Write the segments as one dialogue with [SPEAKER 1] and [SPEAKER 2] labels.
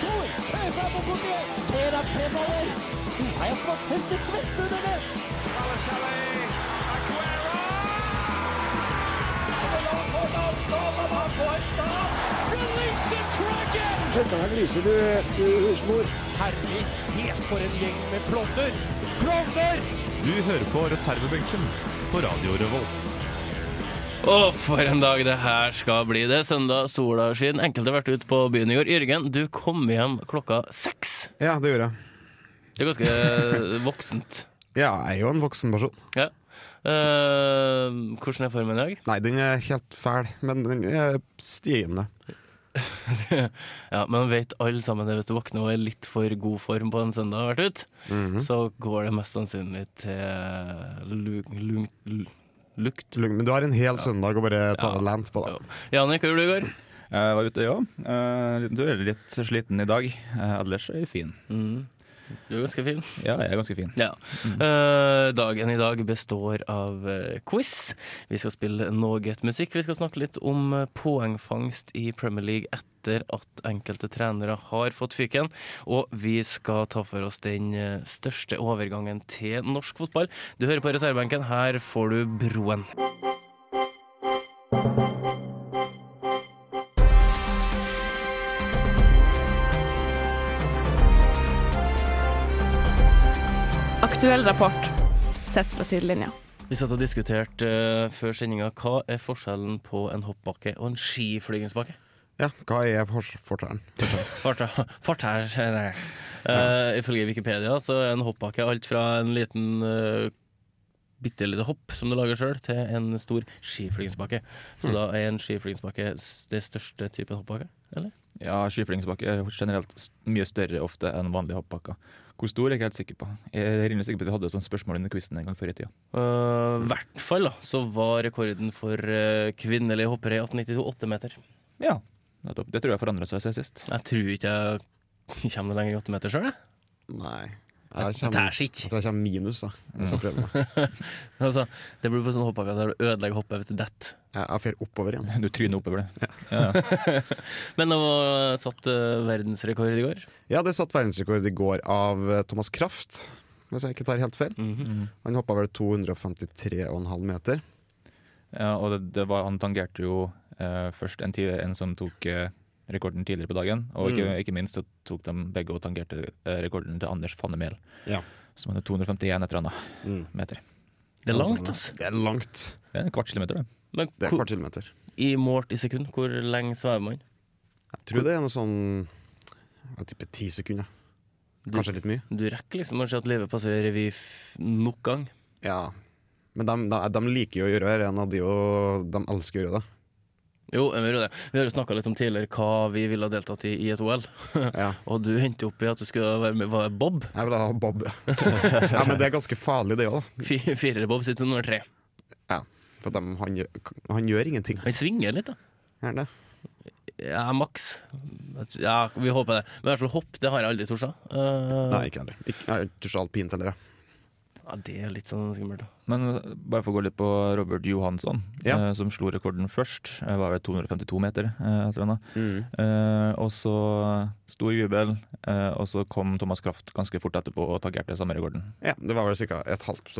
[SPEAKER 1] Skjærfeil på bordet! Ser at fremover! Har jeg spådd helt i svetten under det?
[SPEAKER 2] Du hører på reservebenken på Radio Revolt.
[SPEAKER 3] Å, for en dag det her skal bli. Det er søndag, sola skinner. Enkelte har vært ute på byen i går. Jørgen, du kom hjem klokka seks.
[SPEAKER 4] Ja, det gjorde jeg.
[SPEAKER 3] Det er ganske eh, voksent.
[SPEAKER 4] Ja, jeg er jo en voksen person.
[SPEAKER 3] Ja. Eh, hvordan er formen i dag?
[SPEAKER 4] Nei, den er helt fæl, men den er stigende.
[SPEAKER 3] Ja, men vet alle sammen det hvis du våkner og er litt for god form på en søndag og har vært ute, så går det mest sannsynlig til lug, lung, l- lukt.
[SPEAKER 4] Lung- Men du har en hel søndag å bare ta
[SPEAKER 3] Ja.
[SPEAKER 4] land på,
[SPEAKER 3] Ja.
[SPEAKER 4] da.
[SPEAKER 3] Jannik, hva gjorde du i går?
[SPEAKER 5] Jeg var ute, ja. Eh, liten tur. Litt sliten i dag. Eh, ellers er jeg fin.
[SPEAKER 3] Du er ganske fin.
[SPEAKER 5] Ja, jeg er ganske fin.
[SPEAKER 3] Ja. Eh, dagen i dag består av eh, quiz. Vi skal spille noe musikk. Vi skal snakke litt om eh, poengfangst i Premier League etter at enkelte trenere har fått fyken. Og vi skal ta for oss den eh, største overgangen til norsk fotball. Du hører på reservebenken. Her får du Broen.
[SPEAKER 6] Aktuell rapport sett fra sidelinja.
[SPEAKER 3] Vi satt og diskuterte eh, før sendinga hva er forskjellen på en hoppbakke og en skiflygingsbakke.
[SPEAKER 4] Ja, hva er fors- fortellen?
[SPEAKER 3] Fortell, fortell nei. Eh, ifølge Wikipedia så er en hoppbakke alt fra en liten uh, bitte lite hopp som du lager sjøl, til en stor skiflygingsbakke.
[SPEAKER 4] Hmm.
[SPEAKER 3] Så da er en skiflygingsbakke s- det største typen hoppbakke? Eller?
[SPEAKER 5] Ja, Skiflygingsbakke er generelt s- mye større ofte enn vanlige hoppbakker. Hvor stor er jeg ikke helt sikker på. Jeg er rimelig sikker på at vi hadde et sånt spørsmål under quizen en gang før i tida.
[SPEAKER 3] Eh, I hvert fall da, så var rekorden for eh, kvinnelige hoppere i 1892 åtte meter.
[SPEAKER 5] Ja, nettopp. Det tror jeg forandra seg siden sist.
[SPEAKER 3] Jeg tror ikke jeg kommer noe lenger i åtte meter sjøl, jeg.
[SPEAKER 4] Nei. Jeg,
[SPEAKER 3] Det er
[SPEAKER 4] kommer,
[SPEAKER 3] skitt.
[SPEAKER 4] jeg tror jeg kommer minus, da. Hvis jeg prøver meg.
[SPEAKER 3] Altså, det blir på sånn hoppbakke der du ødelegger hoppet hvis du detter.
[SPEAKER 4] Jeg jeg fer oppover igjen.
[SPEAKER 5] Du tryner oppover det.
[SPEAKER 3] Men det var satt eh, verdensrekord i går.
[SPEAKER 4] Ja, det satt verdensrekord i går av eh, Thomas Kraft, hvis jeg ikke tar helt feil.
[SPEAKER 3] Mhm.
[SPEAKER 4] Han hoppa vel 253,5 meter.
[SPEAKER 5] Ja, og det, det var, han tangerte jo eh, først en, tid, en som tok eh, rekorden tidligere på dagen. Og ikke, ikke minst så tok de begge og tangerte eh, rekorden til Anders Fannemel,
[SPEAKER 4] Ja.
[SPEAKER 5] som hadde 251 et eller annet
[SPEAKER 4] Mm.
[SPEAKER 5] meter.
[SPEAKER 3] Det er langt, altså.
[SPEAKER 4] Det er langt.
[SPEAKER 5] Det er en kvart kilometer, det.
[SPEAKER 3] Men
[SPEAKER 4] Det er et
[SPEAKER 3] hvor-
[SPEAKER 4] par kilometer.
[SPEAKER 3] i målt i sekund, hvor lenge svever man?
[SPEAKER 4] Jeg tror det er noe sånn Jeg tipper ti sekunder. Kanskje litt mye.
[SPEAKER 3] Du rekker liksom å se at livet passer i revy f- nok gang.
[SPEAKER 4] Ja, men de, de, de liker jo å gjøre det. En av de, jo, de elsker å gjøre det.
[SPEAKER 3] Jo, jeg gjør jo det. Vi har jo snakka litt om tidligere hva vi ville ha deltatt i i et OL.
[SPEAKER 4] Ja.
[SPEAKER 3] Og du endte opp i at du skulle være med var det Bob.
[SPEAKER 4] Jeg vil ha Bob. ja, men det er ganske farlig, det òg, da.
[SPEAKER 3] Fi- Firere-Bob sitter som nummer tre.
[SPEAKER 4] Ja, for de, han, gjør- han gjør ingenting.
[SPEAKER 3] Han svinger litt, da.
[SPEAKER 4] Gjerne.
[SPEAKER 3] Ja, maks. Ja, vi håper det. Men i hvert fall hopp, det har jeg aldri tort. Uh,
[SPEAKER 4] Nei, ikke heller. Ikke- Jeg er ikke så alpint heller. jeg.
[SPEAKER 3] Ja, det er litt sånn skummelt. da.
[SPEAKER 5] Men bare for å gå litt på Robert Johansson,
[SPEAKER 4] Ja.
[SPEAKER 5] eh, som slo rekorden først. Eh, var vel 252 meter, eh, tror jeg. nå. Eh, og så stor jubel, eh, og så kom Thomas Kraft ganske fort etterpå og tagerte samme rekorden.
[SPEAKER 4] Ja, det var vel ca.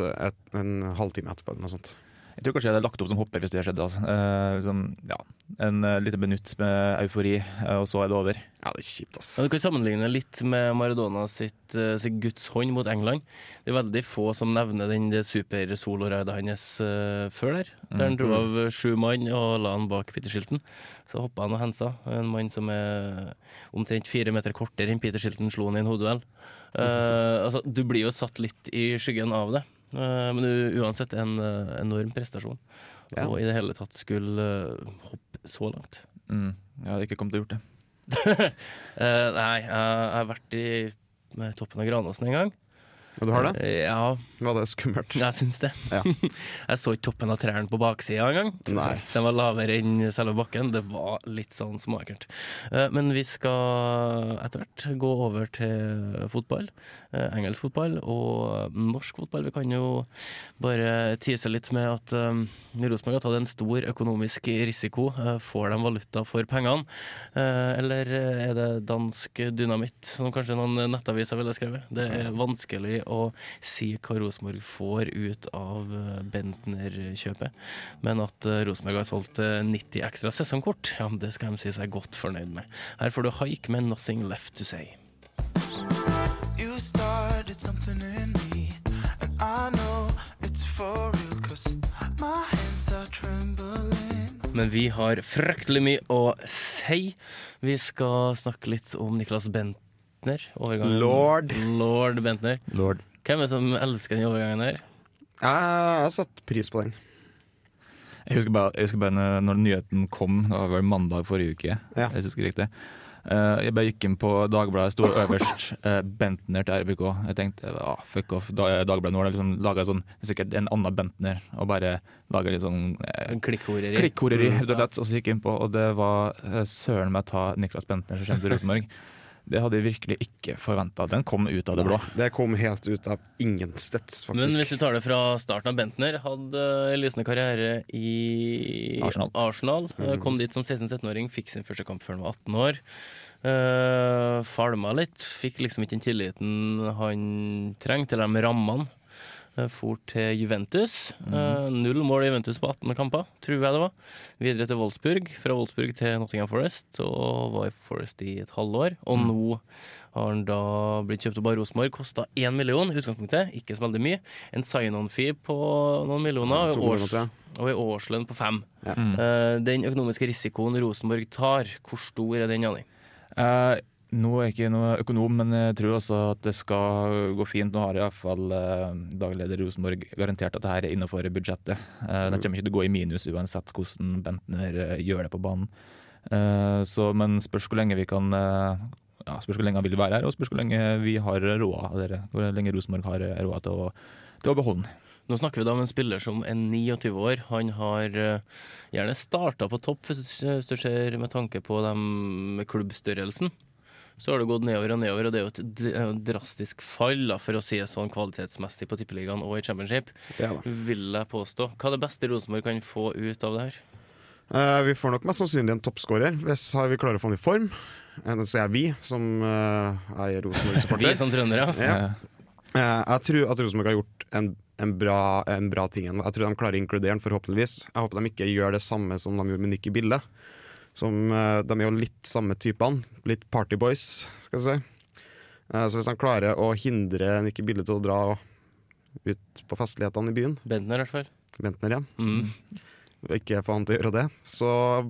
[SPEAKER 4] en halvtime etterpå eller noe sånt.
[SPEAKER 5] Jeg tror kanskje jeg hadde lagt opp som hopper hvis det skjedde. Altså. Eh, liksom, ja, en eh, liten minutt med eufori, eh, og så er det over.
[SPEAKER 4] Ja, det er kjipt, ass.
[SPEAKER 3] Ja, du kan sammenligne litt med Maradona sitt, eh, sitt Guds hånd mot England. Det er veldig få som nevner den det supersoloraidet hans eh, før der. Der han dro av eh, sju mann og la han bak Peter Shilton. Så hoppa han og hensa. En mann som er omtrent fire meter kortere enn Peter Shilton slo han i en hodeduell. Eh, altså, du blir jo satt litt i skyggen av det. Eh, men u- uansett en eh, enorm prestasjon.
[SPEAKER 4] Ja.
[SPEAKER 3] Og i det hele tatt skulle eh, hoppe så langt.
[SPEAKER 5] Mm. Jeg hadde ikke kommet til å gjort det.
[SPEAKER 3] Eh, nei, jeg jeg har vært i eh, toppen av Granåsen en gang.
[SPEAKER 4] Og du har det?
[SPEAKER 3] Ja,
[SPEAKER 4] Var det skummelt?
[SPEAKER 3] jeg syns det.
[SPEAKER 4] Ja.
[SPEAKER 3] Jeg så ikke toppen av trærne på baksida engang.
[SPEAKER 4] Nei.
[SPEAKER 3] Den var lavere enn selve bakken. Det var litt sånn smakert. Eh, Men vi skal etter hvert gå over til fotball. Eh, Engelsk fotball og eh, norsk fotball. Vi kan jo bare tise litt med at eh, Rosenborg har tatt en stor økonomisk risiko. Eh, Får de valuta for pengene, Eh, eller er det dansk dynamitt, som kanskje noen nettaviser ville skrevet? Det er vanskelig å si hva Rosenborg får ut av eh, Bentner-kjøpet. Men at eh, Rosenborg har solgt eh, 90 ekstra sesongkort, ja, det skal de si seg godt fornøyd med. Her får du haik med 'Nothing Left To Say'.
[SPEAKER 7] You started something in me, and I know it's for real, cause my hands are trembling.
[SPEAKER 3] Men vi har fryktelig mye å si. Vi skal snakke litt om Niklas Bentner. overgangen-
[SPEAKER 4] Lord.
[SPEAKER 3] Lord Bentner.
[SPEAKER 5] Lord.
[SPEAKER 3] Hvem er det som elsker den overgangen her?
[SPEAKER 4] Jeg har satt pris på den.
[SPEAKER 5] Jeg husker bare, jeg husker bare når, når nyheten kom, det var vel mandag forrige uke.
[SPEAKER 4] Ja.
[SPEAKER 5] Hvis jeg husker riktig. Eh, jeg bare gikk inn på Dagbladet, sto øverst eh, Bentner til RBK. Jeg tenkte ah, fuck off, da, Dagbladet nå har liksom laga sånn, sikkert en annen Bentner, og bare laga litt sånn eh,
[SPEAKER 3] En klikkhoreri.
[SPEAKER 5] Klikkhoreri, rett og slett. Og så gikk jeg inn på, og det var eh, søren meg ta Niklas Bentner som kommer til Rosenborg. Det hadde jeg virkelig ikke forventa. Den kom ut av det blå.
[SPEAKER 4] Det kom helt ut av ingensteds, faktisk.
[SPEAKER 3] Men hvis vi tar det fra starten av Bentner, hadde en lysende karriere i
[SPEAKER 5] Arsenal.
[SPEAKER 3] Arsenal. Eh, Kom dit som 16-17-åring, fikk sin første kamp før han var 18 år. Eh, falma litt, fikk liksom ikke den tilliten han trengte, eller de rammene. Eh, For til Juventus. Eh, Null mål i Juventus på 18 kamper, tror jeg det var. Videre til Wolfsburg, fra Wolfsburg til Nottingham Forest, og var i Forest i et halvår. Og
[SPEAKER 4] Mm.
[SPEAKER 3] nå har han da blitt kjøpt opp av Rosenborg. Kosta én million i utgangspunktet, ikke så veldig mye. En sign-on-fee på noen millioner, og
[SPEAKER 4] To millioner,
[SPEAKER 3] års,
[SPEAKER 4] tror jeg.
[SPEAKER 3] og en årslønn på fem. Eh, Den økonomiske risikoen Rosenborg tar, hvor stor er den, Janning?
[SPEAKER 5] Eh, nå er jeg ikke noe økonom, men jeg tror også at det skal gå fint. Nå har iallfall eh, dagleder Rosenborg garantert at det her er innafor budsjettet. Eh, det kommer ikke til å gå i minus uansett hvordan Bentner eh, gjør det på banen. Eh, så, men spørs hvor lenge vi kan eh, ja, Spørs hvor lenge han vil være her, og spørs hvor lenge vi har råd eller hvor lenge Rosenborg har eh, råd til å, til å beholde den.
[SPEAKER 3] Nå snakker vi da om en spiller som er 29 år. Han har eh, gjerne starta på topp, hvis hvis du ser med tanke på dem med klubbstørrelsen. Så har det gått nedover og nedover, og det er jo et d- eh, drastisk fall, da, for å si det sånn, kvalitetsmessig på Tippeligaen og i Championship,
[SPEAKER 4] Ja da.
[SPEAKER 3] vil jeg påstå. Hva er det beste Rosenborg kan få ut av det her?
[SPEAKER 4] Eh, vi får nok mest sannsynlig en toppskårer hvis har vi klarer å få han i form. Eh, Nå sier jeg vi, som eh, er
[SPEAKER 3] Vi
[SPEAKER 4] Rosenborg-supporter.
[SPEAKER 3] som trøndere.
[SPEAKER 4] Ja. Eh, jeg tror at Rosenborg har gjort en, en, bra, en bra ting. Jeg tror de klarer å inkludere han, forhåpentligvis. Jeg håper de ikke gjør det samme som de gjorde med Nikki Bille. Som, eh, de er jo litt samme typene. Litt partyboys, skal vi si. Eh, så hvis de klarer å hindre Nikki Bille til å dra ut på festlighetene i byen,
[SPEAKER 3] Bentner, i hvert fall.
[SPEAKER 4] Bentner igjen,
[SPEAKER 3] Mm.
[SPEAKER 4] og ikke få han til å gjøre det, så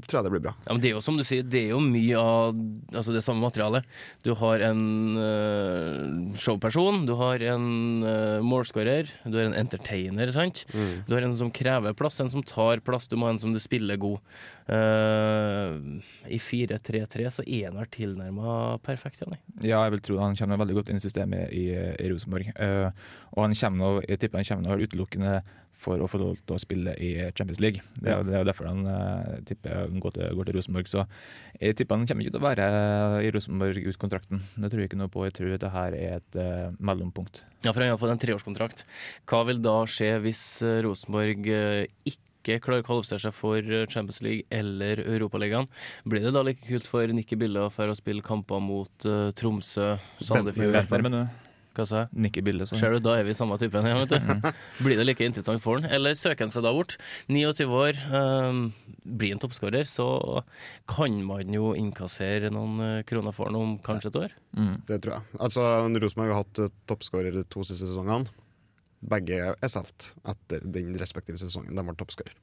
[SPEAKER 4] tror jeg det blir bra.
[SPEAKER 3] Ja, men det er jo som du sier, det er jo mye av altså det samme materialet. Du har en øh, showperson, du har en øh, målskårer, du har en entertainer, sant? Du har en som krever plass, en som tar plass, du må ha en som du spiller god. Eh, I 4-3-3 så er han vel tilnærma perfekt, Janni.
[SPEAKER 5] Ja, jeg vil tro han kommer veldig godt inn i systemet i, i Rosenborg. Eh, og han kommer nå, jeg tipper han kommer nå utelukkende for å få lov til å spille i Champions League. Det er, det er jo derfor han eh, tipper han går til, går til Rosenborg. Så jeg tipper han kommer ikke til å være eh, i Rosenborg ut kontrakten. Det tror jeg ikke noe på. Jeg tror det her er et eh, mellompunkt.
[SPEAKER 3] Ja, for han har fått en treårskontrakt. Hva vil da skje hvis eh, Rosenborg eh, ikke klarer å kvalifisere seg for eh, Champions League eller Europaligaen? Blir det da like kult for Nikki Bille å fære og spille kamper mot eh, Tromsø, Sandefjord
[SPEAKER 5] Bentner, Sånn. men
[SPEAKER 3] Hva sa jeg?
[SPEAKER 5] Nikki Bille, så
[SPEAKER 3] Ser du, da er vi samme typen igjen,
[SPEAKER 5] Mhm.
[SPEAKER 3] vet du. Blir det like interessant for han? Eller søker han seg da bort? 29 år, ehm, blir han toppskårer, så kan man jo innkassere noen eh, kroner for han om kanskje et år.
[SPEAKER 5] Mm.
[SPEAKER 4] Det tror jeg. Altså, Rosenborg har hatt eh, toppskårer de to siste sesongene. Begge er solgt etter den respektive sesongen de var toppskårer.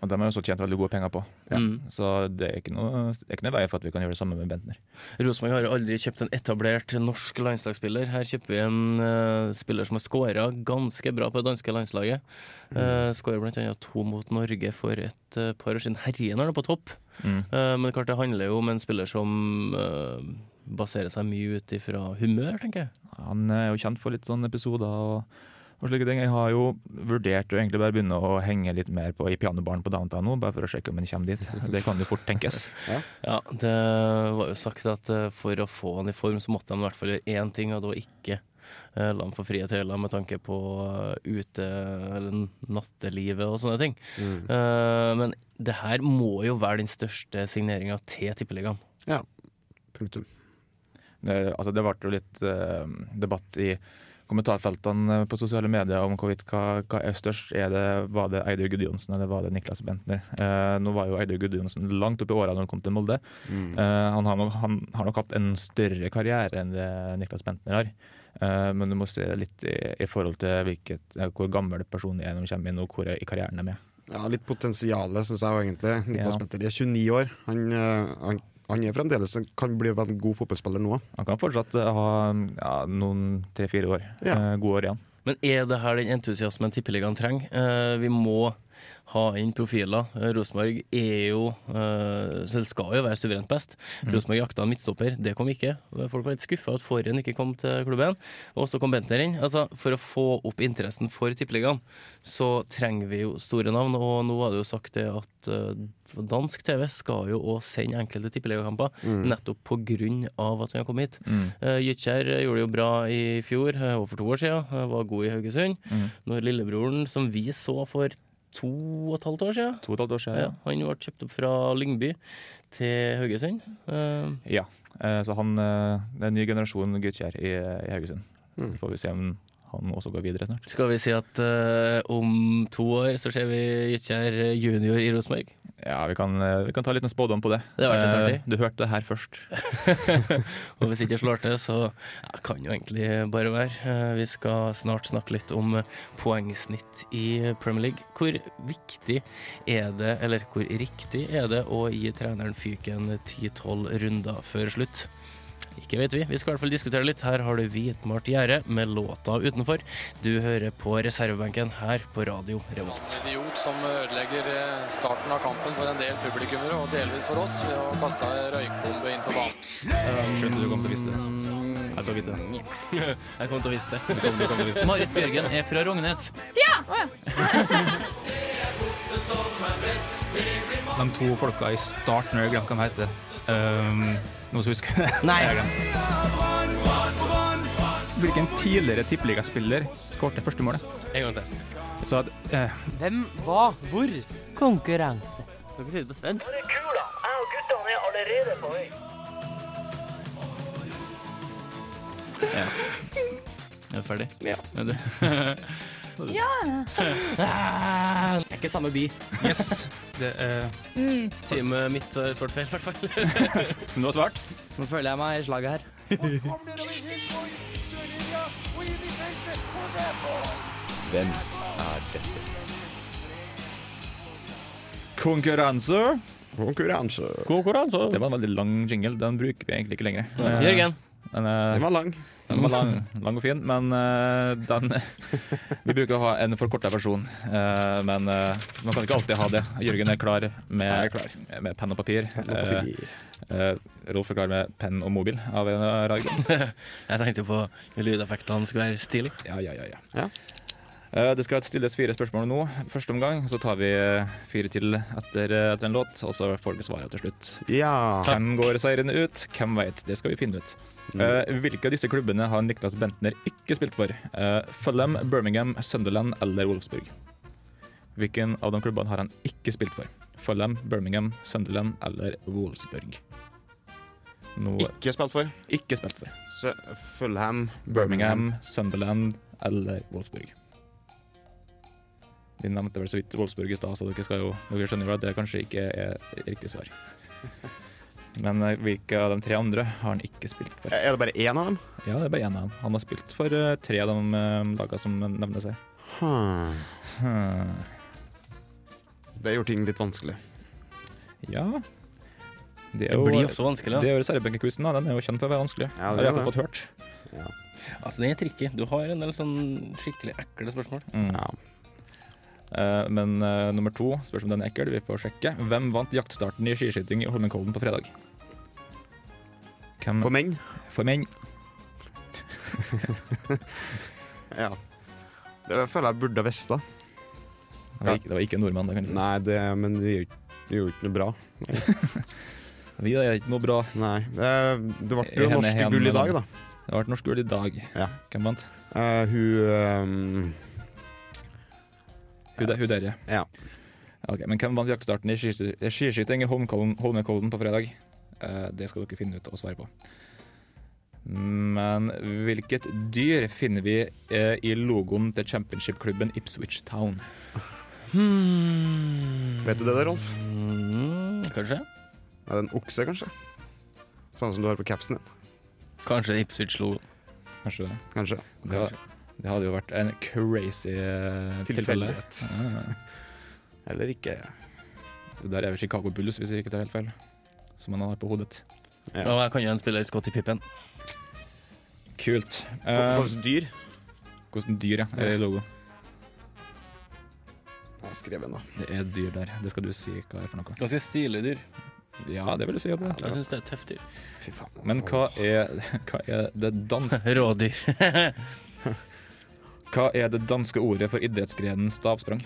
[SPEAKER 5] Og dem har jo også tjent veldig gode penger på.
[SPEAKER 4] Ja.
[SPEAKER 3] Mm.
[SPEAKER 5] Så det er ikke noe, det er ikke noe vei for at vi kan gjøre det samme med Bentner.
[SPEAKER 3] Rosenborg har jo aldri kjøpt en etablert norsk landslagsspiller. Her kjøper vi en eh, spiller som har skåra ganske bra på det danske landslaget. Uh, Skåra bl.a. to mot Norge for et eh, par år siden. Herjen har det på topp. Eh, men klart det handler jo om en spiller som eh, baserer seg mye ut ifra humør, tenker jeg.
[SPEAKER 5] Han eh, er jo kjent for litt sånne episoder og, og slike ting. Jeg har jo vurdert å egentlig bare begynne å henge litt mer på, i pianobaren på downtown nå, bare for å sjekke om han kommer dit. Det kan jo fort tenkes.
[SPEAKER 3] Ja, det var jo sagt at eh, for å få han i form, så måtte han i hvert fall gjøre én ting, og det var ikke eh, la han få frie tøyler med tanke på eh, ute- eller nattelivet og sånne ting.
[SPEAKER 5] Mm.
[SPEAKER 3] Eh, men det her må jo være den største signeringa til Tippeligaen.
[SPEAKER 4] Punktum.
[SPEAKER 5] Det, altså, det ble jo litt eh, debatt i kommentarfeltene på sosiale medier om hvorvidt hva, hva er størst. Er det, var det Eidur Gudjonsen eller var det Niklas Bentner? Eh, nå var jo Eidur Gudjonsen langt opp i åra når han kom til Molde. Eh, han, har nok, han har nok hatt en større karriere enn det Niklas Bentner har. Eh, men du må se det litt i, i forhold til hvilket, eh, hvor gammel personen er når de kommer inn, og hvor i karrieren de er.
[SPEAKER 4] Ja, litt potensialet, syns jeg jo egentlig. Niklas
[SPEAKER 5] Ja.
[SPEAKER 4] Petter er 29 år. Han, eh, han, han er fremdeles kan bli en god fotballspiller nå.
[SPEAKER 5] Han kan fortsatt eh, ha ja, noen tre-fire år,
[SPEAKER 4] Ja.
[SPEAKER 5] eh, gode år igjen.
[SPEAKER 3] Men er det her den entusiasmen Tippeligaen trenger? Eh, vi må ha inn profiler. Eh, Rosenborg er jo eh, så det skal jo være suverent best. Rosenborg jakta en midtstopper, det kom ikke. Folk var litt skuffa at Forhen ikke kom til klubben. Og så kom Bentner inn. Altså, for å få opp interessen for Tippeligaen, så trenger vi jo store navn. Og nå var det jo sagt det at eh, dansk TV skal jo òg sende enkelte tippeligakamper, nettopp på grunn av at han har kommet hit. Eh, Gytkjær gjorde det jo bra i fjor, eh, og for to år siden. eh, Var god i Haugesund. Når lillebroren, som vi så for to og et halvt år siden,
[SPEAKER 5] To og et halvt år siden.
[SPEAKER 3] ja, han ble kjøpt opp fra Lyngby til Haugesund. Eh,
[SPEAKER 5] Ja, eh, så han, eh, det er en ny generasjon Gytkjær i, i Haugesund.
[SPEAKER 3] Mm.
[SPEAKER 5] Så får vi se om han også går videre snart.
[SPEAKER 3] Skal vi si at eh, om to år så ser vi Gytkjær eh, junior i Rosenborg?
[SPEAKER 5] Ja, vi kan, eh, vi kan ta en liten spådom på det.
[SPEAKER 3] Det var ikke
[SPEAKER 5] Eh,
[SPEAKER 3] artig.
[SPEAKER 5] Du hørte det her først.
[SPEAKER 3] Og hvis ikke slår til, så ja, kan jo egentlig bare være. Eh, Vi skal snart snakke litt om eh, poengsnitt i Premier League. Hvor viktig er det, eller hvor riktig er det, å gi treneren fyken 10-12 runder før slutt? Ikke vet vi. Vi skal i hvert fall diskutere litt. Her har du Hvitmalt gjerde med låta utenfor. Du hører på reservebenken her på Radio Revolt.
[SPEAKER 8] idiot som ødelegger eh, starten av kampen for en del publikummere, og delvis for oss, ved å kaste ei røykbombe inn på banen.
[SPEAKER 5] Skjønte du kom til å vite det. Jeg får vite det.
[SPEAKER 3] Jeg kom til å vise det. Marit Bjørgen er fra Rognes.
[SPEAKER 9] De to folka i starten, jeg glemte hva de heter. Um, noen som husker det? Nei. Hvilken tidligere tippeligaspiller skårte første målet?
[SPEAKER 3] En gang til.
[SPEAKER 9] Så at, eh,
[SPEAKER 10] Hvem, hva, hvor? Konkurranse. Kan ikke si det på svensk.
[SPEAKER 3] Er du ferdig? Ja.
[SPEAKER 10] Det er ikke samme by.
[SPEAKER 9] yes, det er
[SPEAKER 3] Mm. Teamet mitt har svart feil, i hvert fall.
[SPEAKER 9] Men du har svart?
[SPEAKER 10] Nå føler jeg meg i slaget her.
[SPEAKER 5] Konkurranse!
[SPEAKER 4] Konkurranse.
[SPEAKER 3] Konkurranse.
[SPEAKER 5] Det var en veldig lang jingle. Den bruker vi egentlig ikke lenger. Eh,
[SPEAKER 3] Jørgen.
[SPEAKER 5] Den, eh,
[SPEAKER 4] Den var lang.
[SPEAKER 5] den var lang, lang og fin, men eh, den Vi bruker å ha en forkorta versjon, eh, men eh, man kan ikke alltid ha det. Jørgen er klar
[SPEAKER 4] Jeg er
[SPEAKER 5] med,
[SPEAKER 4] klar.
[SPEAKER 5] med penn og papir. Eh,
[SPEAKER 4] Papir.
[SPEAKER 5] Eh, Rolf er klar med penn og mobil av en rar grunn.
[SPEAKER 3] Jeg tenkte på lydeffektene skulle være stilig.
[SPEAKER 5] Ja, ja, ja, ja.
[SPEAKER 4] Ja.
[SPEAKER 5] Eh, Det skal stilles fire spørsmål nå. Første omgang så tar vi eh, fire til etter, eh, etter en låt, og så får vi svaret til slutt.
[SPEAKER 4] Ja.
[SPEAKER 5] Hvem går seirende ut? Hvem veit? Det skal vi finne ut.
[SPEAKER 4] Mm.
[SPEAKER 5] Eh, hvilke av disse klubbene har Niklas Bentner ikke spilt for? Eh, Fulham, Birmingham, Sunderland eller Wolfsburg? Hvilken av de klubbene har han ikke spilt for? Fulham, Birmingham, Sunderland eller Wolfsburg? Noe
[SPEAKER 4] Ikke spilt for.
[SPEAKER 5] ikke spilt for.
[SPEAKER 4] Sø- Fulham.
[SPEAKER 5] Birmingham, Sunderland eller Wolfsburg. Vi nevnte vel så vidt Wolfsburg i stad, så dere, skal jo, dere skjønner jo at det kanskje ikke er riktig svar. Men eh, hvilke av de tre andre har han ikke spilt for?
[SPEAKER 4] Er det bare én av dem?
[SPEAKER 5] Ja, det er bare én av dem. Han har spilt for eh, tre av de eh, lagene som nevner seg.
[SPEAKER 4] Hmm.
[SPEAKER 5] Hmm.
[SPEAKER 4] Det gjør ting litt vanskelig.
[SPEAKER 5] Ja Det,
[SPEAKER 3] Det
[SPEAKER 5] er
[SPEAKER 3] blir
[SPEAKER 5] jo,
[SPEAKER 3] ofte vanskelig.
[SPEAKER 5] det
[SPEAKER 3] da.
[SPEAKER 5] er jo reservebenkequizen, da. Den er jo kjent for å være vanskelig.
[SPEAKER 4] Ja,
[SPEAKER 5] Ja,
[SPEAKER 4] det
[SPEAKER 5] det har
[SPEAKER 4] er
[SPEAKER 5] jeg i hvert fall fått hørt.
[SPEAKER 3] Altså, det er tricky. Du har en del sånn skikkelig ekle spørsmål.
[SPEAKER 5] Mm.
[SPEAKER 4] Ja.
[SPEAKER 5] Eh, Men eh, nummer to, spørs om den er ekkel, vi får sjekke. Hvem vant jaktstarten i skiskyting i Holmenkollen på fredag? Hvem,
[SPEAKER 4] For menn?
[SPEAKER 5] for menn.
[SPEAKER 4] Ja. Det føler jeg burde ha visst, da.
[SPEAKER 5] Det var, ikke, det var ikke nordmenn, det kan du si.
[SPEAKER 4] Nei, det, men vi gjør ikke- vi gjorde ikke noe bra.
[SPEAKER 5] Vi er ikke noe bra.
[SPEAKER 4] Nei. Det, det ble
[SPEAKER 5] Jeg
[SPEAKER 4] jo
[SPEAKER 5] hender
[SPEAKER 4] norske
[SPEAKER 5] hen
[SPEAKER 4] gull i
[SPEAKER 5] mellom-
[SPEAKER 4] dag, da.
[SPEAKER 5] Det har vært norsk gull i dag.
[SPEAKER 4] Ja.
[SPEAKER 5] Hvem vant?
[SPEAKER 4] Eh, hun ehm,
[SPEAKER 5] Hun, der- hun derre.
[SPEAKER 4] Ja.
[SPEAKER 5] Ok, men hvem vant jaktstarten i skisky- skiskyting i Holmenkollen, Holmenkollen på fredag? Eh, det skal dere finne ut og svare på. Men hvilket dyr finner vi eh, i logoen til championshipklubben Ipswich Town?
[SPEAKER 3] Hmm.
[SPEAKER 4] eh, Vet du det, der, Rolf?
[SPEAKER 3] Mm, kanskje.
[SPEAKER 4] Er det en okse, kanskje? Samme som du har på capsen din,
[SPEAKER 3] Kanskje Ipswich-logoen.
[SPEAKER 5] Kanskje det?
[SPEAKER 4] kanskje?
[SPEAKER 5] Det, var- det hadde jo vært en crazy eh, tilfelle.
[SPEAKER 4] Tilfeldighet.
[SPEAKER 5] Ah,
[SPEAKER 4] Eller ikke.
[SPEAKER 5] det der er vel Chicago Bulls, hvis jeg ikke tar helt feil. Som han har på hodet.
[SPEAKER 4] Ja.
[SPEAKER 3] Og jeg kan jo en spiller Scotty Pippen.
[SPEAKER 5] Kult.
[SPEAKER 4] Hva
[SPEAKER 5] Eh,
[SPEAKER 4] slags dyr?
[SPEAKER 5] hvordan dyr ja, er det i logo?
[SPEAKER 4] Jeg har skrevet nå.
[SPEAKER 5] Det er dyr der. Det skal du si hva er for noe.
[SPEAKER 3] Ganske stilig dyr.
[SPEAKER 5] Ja, det vil jeg si. At det
[SPEAKER 3] Jeg
[SPEAKER 5] er.
[SPEAKER 3] syns det er et tøft dyr.
[SPEAKER 4] Fy faen.
[SPEAKER 5] Men hva er, hva er det danske
[SPEAKER 3] Rådyr.
[SPEAKER 5] Hva er det danske ordet for idrettsgrenen stavsprang?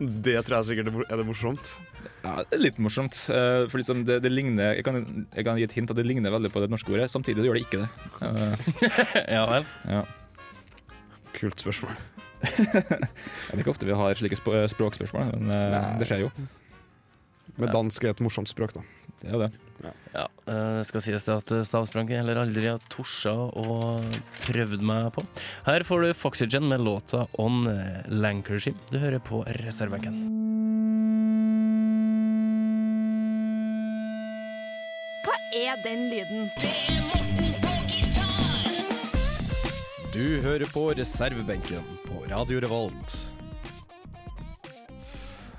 [SPEAKER 4] Det tror jeg sikkert er mor- er det morsomt.
[SPEAKER 5] Ja, det er litt morsomt. eh, For liksom det, det ligner jeg kan, jeg kan gi et hint at det ligner veldig på det norske ordet. Samtidig gjør det ikke det. Eh,
[SPEAKER 3] ja vel.
[SPEAKER 5] ja.
[SPEAKER 4] Kult spørsmål.
[SPEAKER 5] Jeg vet ikke ofte vi har slike sp eh, språkspørsmål, men eh,
[SPEAKER 4] Nei.
[SPEAKER 5] det skjer jo.
[SPEAKER 4] Men dansk er et morsomt språk, da.
[SPEAKER 5] Det er jo det.
[SPEAKER 3] Ja, eh, det skal sies det at stavsprang jeg heller aldri har torsa og prøvd meg på. Her får du Foxygen med låta On eh, Lancashire. Du hører på reservebenken.
[SPEAKER 6] Hva er den lyden?
[SPEAKER 11] Du hører på reservebenken på Radio Revolt.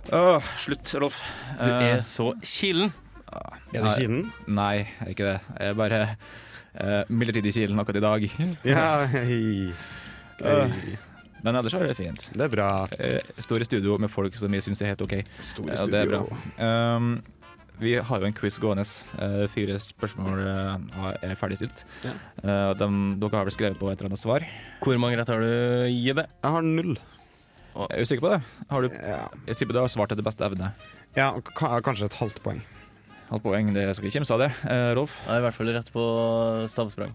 [SPEAKER 5] Åh, slutt, Rolf. Eh,
[SPEAKER 3] Du er så kilen.
[SPEAKER 4] Er det kinen?
[SPEAKER 5] Ah, Nei, jeg er ikke det. Jeg er bare eh, midlertidig kilen akkurat i dag.
[SPEAKER 4] Ja, hei.
[SPEAKER 5] Eh,
[SPEAKER 4] Hei.
[SPEAKER 5] Men ellers er det fint.
[SPEAKER 4] Det er bra.
[SPEAKER 5] Eh, Står i studio med folk som jeg syns er helt OK.
[SPEAKER 4] Store
[SPEAKER 5] Ja,
[SPEAKER 4] studio.
[SPEAKER 5] det er bra. Um, vi har jo en quiz gående. Eh, fire spørsmål eh, er ferdigstilt.
[SPEAKER 4] Ja.
[SPEAKER 5] Eh, dem- dere har vel skrevet på et eller annet svar?
[SPEAKER 3] Hvor mange rett har du, Jebbe?
[SPEAKER 4] Jeg har null.
[SPEAKER 5] Jeg er usikker på det. Har du,
[SPEAKER 4] Ja,
[SPEAKER 5] jeg tipper du har svart etter beste evne.
[SPEAKER 4] ja og ka- kanskje et halvt poeng.
[SPEAKER 5] Halvt poeng, det skal ikke kimse av det. Eh, Rolf,
[SPEAKER 3] Jeg er i hvert fall rett på stavsprang.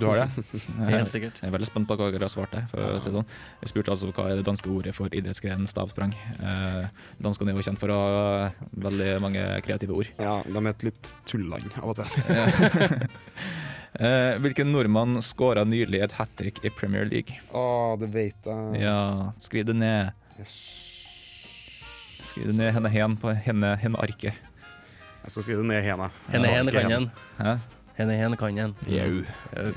[SPEAKER 5] du har det? Eh,
[SPEAKER 3] Helt sikkert.
[SPEAKER 5] Jeg er veldig spent på hva dere har svart der. For å si det sånn. Jeg spurte altså hva er det danske ordet for idrettsgrenen stavsprang. Eh, danskene er jo kjent for å ha veldig mange kreative ord.
[SPEAKER 4] Ja, de er et litt tulland av og til.
[SPEAKER 5] Eh, hvilken nordmann skåra nylig et hat trick i Premier League?
[SPEAKER 4] Å, det veit jeg.
[SPEAKER 5] Ja, skriv det ned.
[SPEAKER 4] Yes.
[SPEAKER 5] Skriv det ned henne hen på henne, henne arket.
[SPEAKER 4] Jeg skal skrive det ned i henda.
[SPEAKER 3] Henne hen kan en.
[SPEAKER 5] Hæ?
[SPEAKER 3] Henne hen kan en.
[SPEAKER 5] Jau. Jau.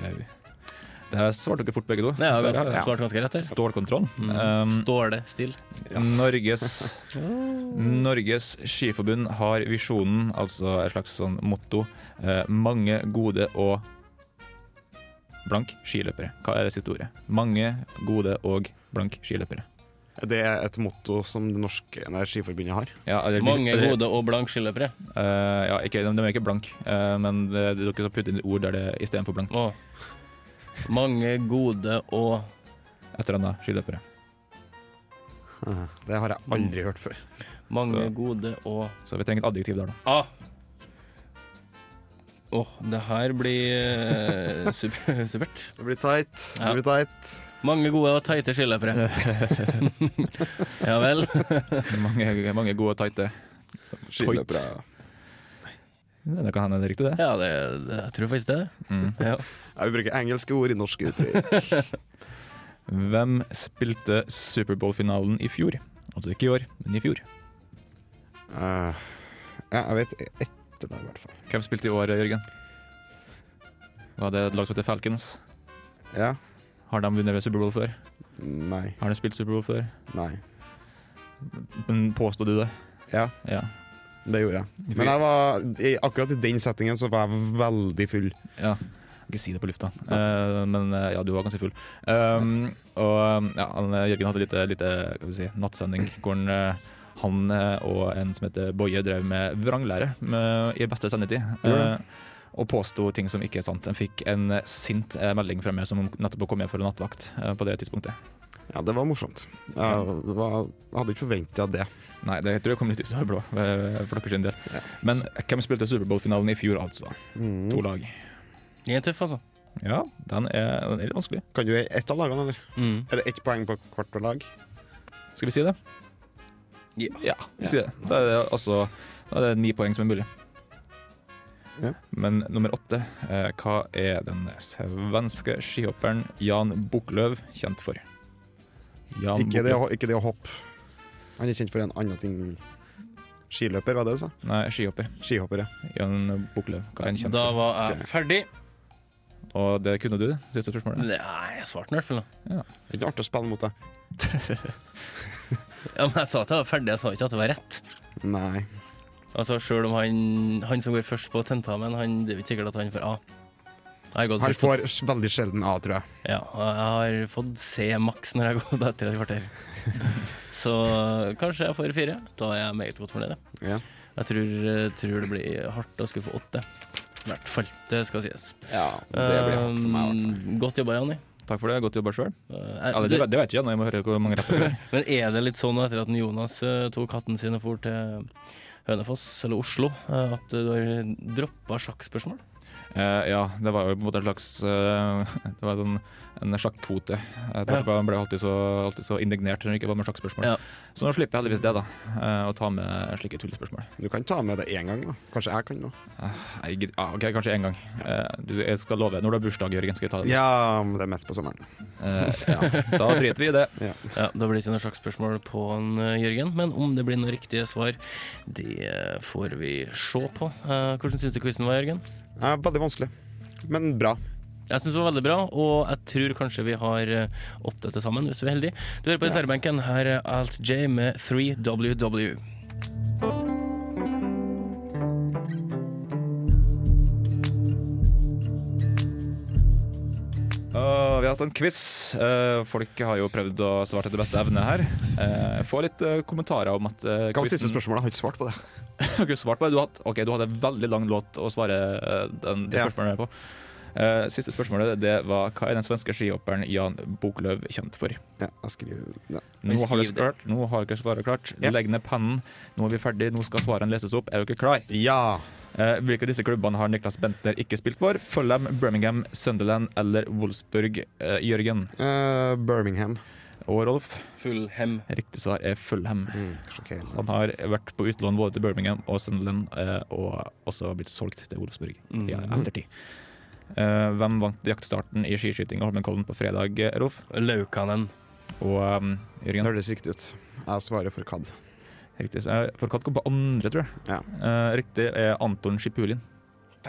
[SPEAKER 5] Det her svarte dere fort begge to.
[SPEAKER 3] Nei, jeg har
[SPEAKER 5] Der
[SPEAKER 3] ganske,
[SPEAKER 5] har
[SPEAKER 3] svart ganske rett
[SPEAKER 5] jeg.
[SPEAKER 3] her.
[SPEAKER 5] Stålkontroll.
[SPEAKER 3] Mm.
[SPEAKER 5] Um,
[SPEAKER 3] Står det stille?
[SPEAKER 5] Norges, Mm. Norges Skiforbund har visjonen, altså et slags sånn motto, eh, mange gode og blank skiløpere. Hva er det siste ordet? Mange gode og blank skiløpere.
[SPEAKER 4] Det er et motto som det norske nei, skiforbundet har.
[SPEAKER 5] Ja, eller-
[SPEAKER 3] Mange
[SPEAKER 5] eller-
[SPEAKER 3] gode og blank skiløpere.
[SPEAKER 5] Eh, ja, ikke, de, de er ikke blank, eh, men det, dere skal putte inn ord der det istedenfor blank.
[SPEAKER 3] Å. Mange gode og
[SPEAKER 5] Et eller annet skiløpere.
[SPEAKER 4] Det har jeg aldri hørt før.
[SPEAKER 3] Mange
[SPEAKER 5] Så.
[SPEAKER 3] gode og
[SPEAKER 5] Så vi trenger et adjektiv der, da.
[SPEAKER 3] A. Åh, det her blir eh, super, supert.
[SPEAKER 4] Det blir teit.
[SPEAKER 3] Ja.
[SPEAKER 4] Det blir teit.
[SPEAKER 3] Mange gode og teite skiløpere. ja vel.
[SPEAKER 5] Mange, mange gode og tighte.
[SPEAKER 4] Skiløpere.
[SPEAKER 5] Men Det kan hende det er riktig, det.
[SPEAKER 3] Ja, det, det, jeg tror faktisk det.
[SPEAKER 5] Mm.
[SPEAKER 3] Ja.
[SPEAKER 4] Jeg vil bruke engelske ord i norske uttrykk.
[SPEAKER 5] Hvem spilte Superbowl-finalen i fjor? Altså ikke i år, men i fjor.
[SPEAKER 4] Eh, ja, jeg vet ett lag, i hvert fall.
[SPEAKER 5] Hvem spilte i år, Jørgen? Var det et lag som heter Falcons?
[SPEAKER 4] Ja.
[SPEAKER 5] Har de vunnet Superbowl før?
[SPEAKER 4] Nei.
[SPEAKER 5] Har de spilt Superbowl før?
[SPEAKER 4] Nei.
[SPEAKER 5] Men Påstod du det?
[SPEAKER 4] Ja,
[SPEAKER 5] Ja.
[SPEAKER 4] det gjorde jeg. Men jeg var, i, akkurat i den settingen så var jeg veldig full.
[SPEAKER 5] Ja. Ikke si det på lufta, Eh, men eh, ja, du var ganske full. Um, og um, ja, han, eh, Jørgen hadde litt, litt eh, hva skal vi si, nattsending hvor han, eh, han eh, og en som heter Boje drev med vranglære med, i beste sendetid. Eh, og påsto ting som ikke er sant. Han fikk en eh, sint eh, melding fra meg som nettopp kom hjem fra nattevakt eh, på det tidspunktet.
[SPEAKER 4] Ja, det var morsomt. Jeg, var, hadde ikke forventa det.
[SPEAKER 5] Nei, det jeg tror jeg kom litt ut av det blå eh, for deres sin del. Men hvem spilte Superbowl-finalen i fjor, altså?
[SPEAKER 4] Mm.
[SPEAKER 5] To lag.
[SPEAKER 3] Den er tøff, altså.
[SPEAKER 5] Ja, den er, den er litt vanskelig.
[SPEAKER 4] Kan du ett av lagene, eller?
[SPEAKER 3] Mm.
[SPEAKER 4] Er det ett poeng på hvert lag?
[SPEAKER 5] Skal vi si det?
[SPEAKER 3] Ja.
[SPEAKER 5] vi sier det. Da er det altså da er det ni poeng som er mulig. Men nummer åtte, eh, hva er den svenske skihopperen Jan Buklöv kjent for? Jan
[SPEAKER 4] Ikke det, å-
[SPEAKER 5] Buklöv-
[SPEAKER 4] ikke det å hoppe. Han er kjent for en annen ting. Skiløper, var det du sa?
[SPEAKER 5] Nei, skihopper.
[SPEAKER 4] Skihopper, ja.
[SPEAKER 5] Jan Buklöv, hva er han kjent
[SPEAKER 3] Da
[SPEAKER 5] for?
[SPEAKER 3] var jeg ferdig.
[SPEAKER 5] Og det kunne du, siste spørsmålet.
[SPEAKER 3] Nei, jeg svarte den i hvert fall. da.
[SPEAKER 4] Det er ikke artig å spille mot deg.
[SPEAKER 3] Ja, men jeg sa at jeg var ferdig, jeg sa ikke at det var rett.
[SPEAKER 4] Nei.
[SPEAKER 3] Altså, Sjøl om han, han som går først på tentamen, han, det er jo ikke sikkert at han får A. Jeg har gått
[SPEAKER 4] Han
[SPEAKER 3] først på,
[SPEAKER 4] Altså, får s- veldig sjelden A, tror jeg.
[SPEAKER 3] ja, og jeg har fått C maks når jeg har gått etter et kvarter. Så kanskje jeg får fire. Da er jeg meget godt fornøyd. ja.
[SPEAKER 4] Ja.
[SPEAKER 3] Jeg tror, eh, tror det blir hardt å skulle få åtte. I hvert fall. Det skal sies.
[SPEAKER 4] Ja, det blir hardt for meg, i hvert fall.
[SPEAKER 3] Eh, Godt jobba, Janni.
[SPEAKER 5] Takk for det, godt jobba sjøl.
[SPEAKER 3] Eh,
[SPEAKER 5] Eller det,
[SPEAKER 3] du-
[SPEAKER 5] vet- det vet jeg ikke, jeg må høre hvor mange retter det er.
[SPEAKER 3] Men er det litt sånn etter at den Jonas eh, tok hatten sin og for til Hønefoss, eller Oslo, eh, at du har droppa sjakkspørsmål?
[SPEAKER 5] Eh, ja, det var jo på en måte en slags eh, Det var en, en sjakkvote. Jeg
[SPEAKER 3] Ja.
[SPEAKER 5] tenkte på, han ble alltid så, alltid så indignert når det ikke var med sjakkspørsmål.
[SPEAKER 3] Ja.
[SPEAKER 5] Så nå slipper jeg heldigvis det, da. eh, Å ta med slike tullespørsmål.
[SPEAKER 4] Um, Du kan ta med det én gang, da. Kanskje jeg kan nå.
[SPEAKER 5] Nei, jeg gidder- ah, ok, kanskje én gang. Eh, du- jeg skal love. Når du har bursdag, Jørgen, skal vi ta det.
[SPEAKER 4] Ja, men det er midt på sommeren.
[SPEAKER 5] Eh, ja. Da driter vi i det.
[SPEAKER 4] Ja.
[SPEAKER 3] Ja, Da blir det ikke noe sjakkspørsmål på han, eh, Jørgen, men om det blir noen riktige svar, det eh, får vi se på. Eh, Hvordan syns du quizen var, Jørgen?
[SPEAKER 4] Det er veldig vanskelig, men bra.
[SPEAKER 3] Jeg syns det var veldig bra, og jeg tror kanskje vi har eh, åtte til sammen, hvis vi er heldige. Du hører på reservebenken, her er Alt J med 3WW.
[SPEAKER 5] Eh, vi har hatt en quiz. Eh, folk har jo prøvd å svare til det beste evne her. Eh, få litt eh, kommentarer om at uh,
[SPEAKER 4] Hva var siste spørsmålet? Jeg har ikke svart på det.
[SPEAKER 5] Har ikke svart på det. Du hadde, ok, du hadde en veldig lang låt å svare eh, den, det
[SPEAKER 4] Ja.
[SPEAKER 5] spørsmålet her på. Eh, siste spørsmålet det var hva er den svenske skihopperen Jan Boklöv kjent for?
[SPEAKER 4] Ja, jeg skriver ja.
[SPEAKER 5] Nå har dere
[SPEAKER 3] skriv det.
[SPEAKER 5] svart, nå har dere svaret klart.
[SPEAKER 4] Ja.
[SPEAKER 5] Legg ned pennen. Nå er vi ferdig, nå skal svarene leses opp. Er dere klar?
[SPEAKER 4] ja.
[SPEAKER 5] Eh, hvilke av disse klubbene har Niklas Bentner ikke spilt for? Fulham, Birmingham, Sunderland eller Wolfsburg? Eh, Jørgen
[SPEAKER 4] Eh, Birmingham.
[SPEAKER 5] og Rolf,
[SPEAKER 3] Full hem.
[SPEAKER 5] riktig svar er Fulham.
[SPEAKER 4] Mm, Sjokkerende.
[SPEAKER 5] Han har vært på utlån både til Birmingham og Sunderland, eh, og også blitt solgt til Wolfsburg i ettertid. Eh, hvem vant jaktstarten i skiskyting i Holmenkollen på fredag, eh, Rolf?
[SPEAKER 3] Laukanen.
[SPEAKER 5] Og eh,
[SPEAKER 4] Det
[SPEAKER 5] Jørgen?
[SPEAKER 4] høres riktig ut. Jeg svarer for CAD.
[SPEAKER 5] Riktig svar. For Katt kom på andre, tror jeg.
[SPEAKER 4] Ja.
[SPEAKER 5] Eh, riktig er Anton Schipulin.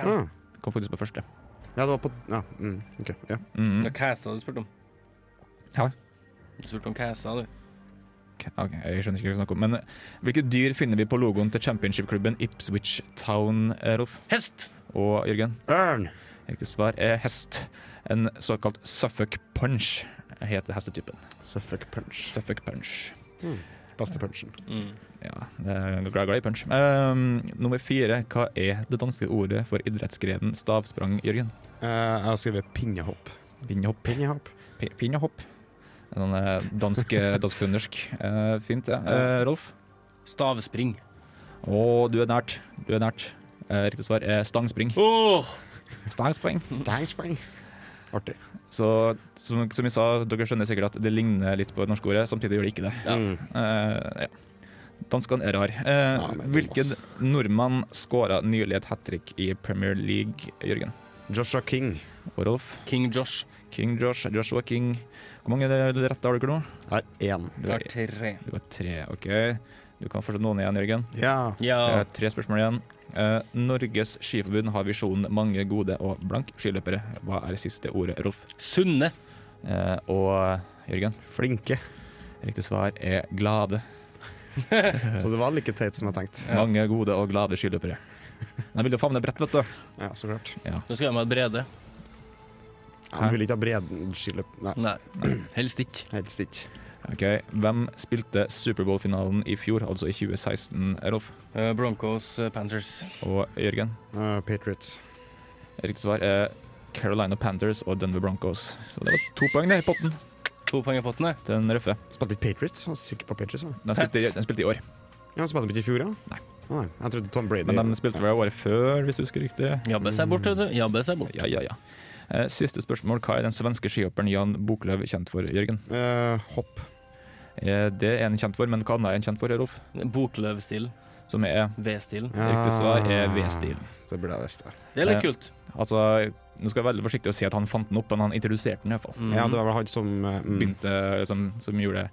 [SPEAKER 4] Ah.
[SPEAKER 5] Kom faktisk på første.
[SPEAKER 4] Ja, det var på Ja. Mm, ok. Ja.
[SPEAKER 5] Mm.
[SPEAKER 3] Hva Kæsa du spurte om?
[SPEAKER 5] Ja.
[SPEAKER 3] Du spurte om Kæsa, du.
[SPEAKER 5] Ok, jeg skjønner ikke hva du snakker om. Men eh, hvilke dyr finner vi på logoen til championship-klubben Ipswich Town, eh, Rolf?
[SPEAKER 3] Hest!
[SPEAKER 5] Og Jørgen?
[SPEAKER 4] Ørn!
[SPEAKER 5] Riktig svar er hest. En såkalt Suffolk Punch heter hestetypen.
[SPEAKER 4] Suffolk punch.
[SPEAKER 5] Suffolk Punch.
[SPEAKER 4] Beste punchen.
[SPEAKER 3] Mm.
[SPEAKER 5] Ja, det er glad, glad i punch. Ehm, nummer fire, hva er det danske ordet for idrettsgrenen stavsprang, Jørgen?
[SPEAKER 4] Eh, jeg har skrevet pinnehopp.
[SPEAKER 5] Pinnehopp.
[SPEAKER 4] Pinnehopp.
[SPEAKER 5] Pi- Pinnehopp. Sånn eh, dansk- dansk-trøndersk. Eh, fint, ja. Eh, Rolf?
[SPEAKER 3] Stavspring.
[SPEAKER 5] Å, du er nært. Du er nært. Eh, riktig svar er stangspring.
[SPEAKER 3] Oh!
[SPEAKER 5] Stangspring.
[SPEAKER 4] Dangsprang. Artig.
[SPEAKER 5] Så som, som jeg sa, dere skjønner sikkert at det ligner litt på det norske ordet, samtidig gjør det ikke det.
[SPEAKER 4] Mm.
[SPEAKER 5] Eh, ja. Danskene er rar. Eh,
[SPEAKER 4] Ja, men
[SPEAKER 5] hvilken
[SPEAKER 4] Thomas.
[SPEAKER 5] nordmann skåra nylig et hat trick i Premier League, Jørgen?
[SPEAKER 4] Joshua King.
[SPEAKER 5] Og Rolf?
[SPEAKER 3] King Josh.
[SPEAKER 5] King Josh, Joshua King. Hvor mange rette har dere nå?
[SPEAKER 4] Her én.
[SPEAKER 5] Du har,
[SPEAKER 3] tre.
[SPEAKER 5] du har tre, OK. Du kan fortsatt noen igjen, Jørgen.
[SPEAKER 4] Ja.
[SPEAKER 5] Eh,
[SPEAKER 3] Ja.
[SPEAKER 5] tre spørsmål igjen. Eh, Norges Skiforbund har visjonen 'mange gode og blank skiløpere'. Hva er det siste ordet, Rolf?
[SPEAKER 3] Sunne.
[SPEAKER 5] Eh, og Jørgen?
[SPEAKER 4] Flinke.
[SPEAKER 5] Riktig svar er glade.
[SPEAKER 4] Så det var like teit som jeg tenkte.
[SPEAKER 5] Mange gode og glade skiløpere. De vil jo favne bredt, vet du.
[SPEAKER 4] Ja, så klart.
[SPEAKER 3] Nå skal jeg med et Brede.
[SPEAKER 5] Hæ?
[SPEAKER 4] Jeg vil ikke ha breden skiløp... Nei,
[SPEAKER 3] Nei, helst ikke.
[SPEAKER 4] helst ikke.
[SPEAKER 5] Ok, Hvem spilte Superbowl-finalen i fjor, altså i 2016, Rolf
[SPEAKER 3] Eh, Broncos eh, Panthers.
[SPEAKER 5] og Jørgen?
[SPEAKER 4] Eh, Patriots.
[SPEAKER 5] Riktig svar er Carolina Panthers og Denver Broncos. Så det var to poeng det i potten.
[SPEAKER 3] To poeng i potten,
[SPEAKER 5] det. Den røffe.
[SPEAKER 4] Spilte ikke Patriots? Jeg var sikker på Patriots. jeg.
[SPEAKER 5] Den spilte, i- den spilte i år.
[SPEAKER 4] Ja, han spilte ikke i fjor, ja?
[SPEAKER 5] Nei.
[SPEAKER 4] Nei, jeg trodde Tom Brady
[SPEAKER 5] Men de spilte vel året før, hvis du husker riktig.
[SPEAKER 4] Mm.
[SPEAKER 3] Jabbe seg bort, vet du. Jabbe seg bort.
[SPEAKER 5] Ja, ja, ja. Eh, Siste spørsmål. Hva er den svenske skihopperen Jan Boklöv kjent for, Jørgen?
[SPEAKER 4] Eh, hopp.
[SPEAKER 5] Eh, Det er han kjent for, men hva annet er han kjent for, Rolf?
[SPEAKER 3] Bokløvstil.
[SPEAKER 5] Som er
[SPEAKER 3] V-stil.
[SPEAKER 5] Riktig svar er V-stil.
[SPEAKER 4] Det burde jeg visst. ja.
[SPEAKER 3] Det er litt
[SPEAKER 5] Eh,
[SPEAKER 3] kult.
[SPEAKER 5] Altså, nå skal jeg være veldig forsiktig og si at han fant den opp, men han introduserte den iallfall.
[SPEAKER 4] Mm. Ja,
[SPEAKER 3] Mhm.
[SPEAKER 4] det var vel han som eh, mm.
[SPEAKER 5] Begynte, som, som gjorde det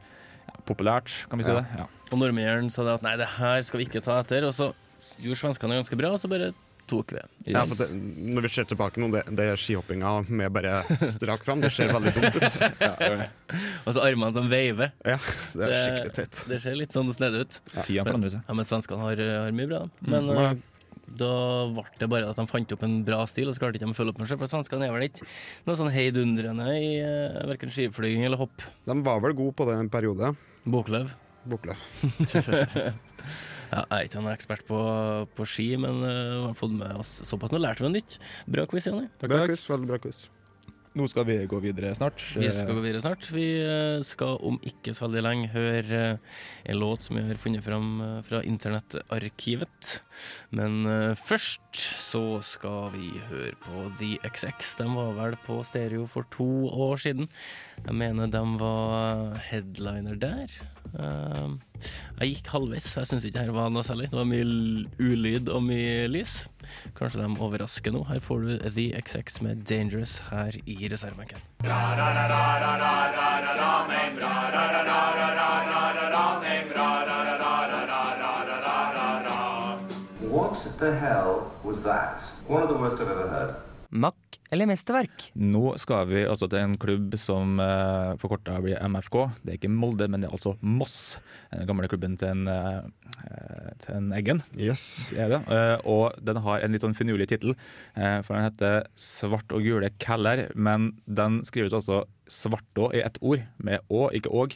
[SPEAKER 5] ja, populært, kan vi si
[SPEAKER 4] Ja.
[SPEAKER 5] det. Ja.
[SPEAKER 3] Og nordmennene sa det at nei, det her skal vi ikke ta etter. Og så gjorde svenskene det ganske bra, og så bare tok vi.
[SPEAKER 4] Ja, for det, når vi ser tilbake nå, det, det er skihoppinga med bare strak fram. Det ser veldig dumt ut.
[SPEAKER 3] Og så armene som veiver.
[SPEAKER 4] Ja, det er skikkelig tett.
[SPEAKER 3] Det ser litt sånn snedig ut.
[SPEAKER 5] Tida forandrer seg.
[SPEAKER 3] Ja, men svenskene har, eh, har mye bra, da. Men
[SPEAKER 4] Ja.
[SPEAKER 3] eh, da ble det bare at de fant opp en bra stil, og så klarte ikke de å følge opp med seg, for svenskene er vel ikke noe sånn heidundrende i uh, verken skiflyging eller hopp.
[SPEAKER 4] De var vel gode på det en periode.
[SPEAKER 3] Boklöv.
[SPEAKER 4] Boklöv.
[SPEAKER 3] Ja, jeg er ikke noen ekspert på, på ski, men eh, vi har fått med oss såpass. Nå lærte vi noe nytt. Bra quiz, Jonny.
[SPEAKER 4] Bra quiz, veldig bra quiz.
[SPEAKER 5] Nå skal vi gå videre snart.
[SPEAKER 3] Vi skal gå videre snart. Vi eh, skal om ikke så veldig lenge høre eh, en låt som vi har funnet fram eh, fra internettarkivet. Men eh, først så skal vi høre på The XX. De var vel på stereo for to år siden. Jeg mener de var headliner der. Eh, Jeg gikk halvveis. Jeg syns ikke dette var noe særlig. Det var mye l- ulyd og mye lys. Kanskje de overrasker nå. Her får du The XX med 'Dangerous' her i reservebenken.
[SPEAKER 12] What the hell was that? One of the worst I've ever heard.
[SPEAKER 10] Makk eller mesterverk?
[SPEAKER 5] Nå skal vi altså til en klubb som uh, forkorta blir MFK. Det er ikke Molde, men det er altså Moss. Den gamle klubben til en, eh, til en Eggen.
[SPEAKER 4] Yes.
[SPEAKER 5] Det er det. Eh, og den har en litt sånn finurlig tittel, eh, for den heter Svart og gule keller. Men den skrives altså svartå i ett ord, med å, ikke åg.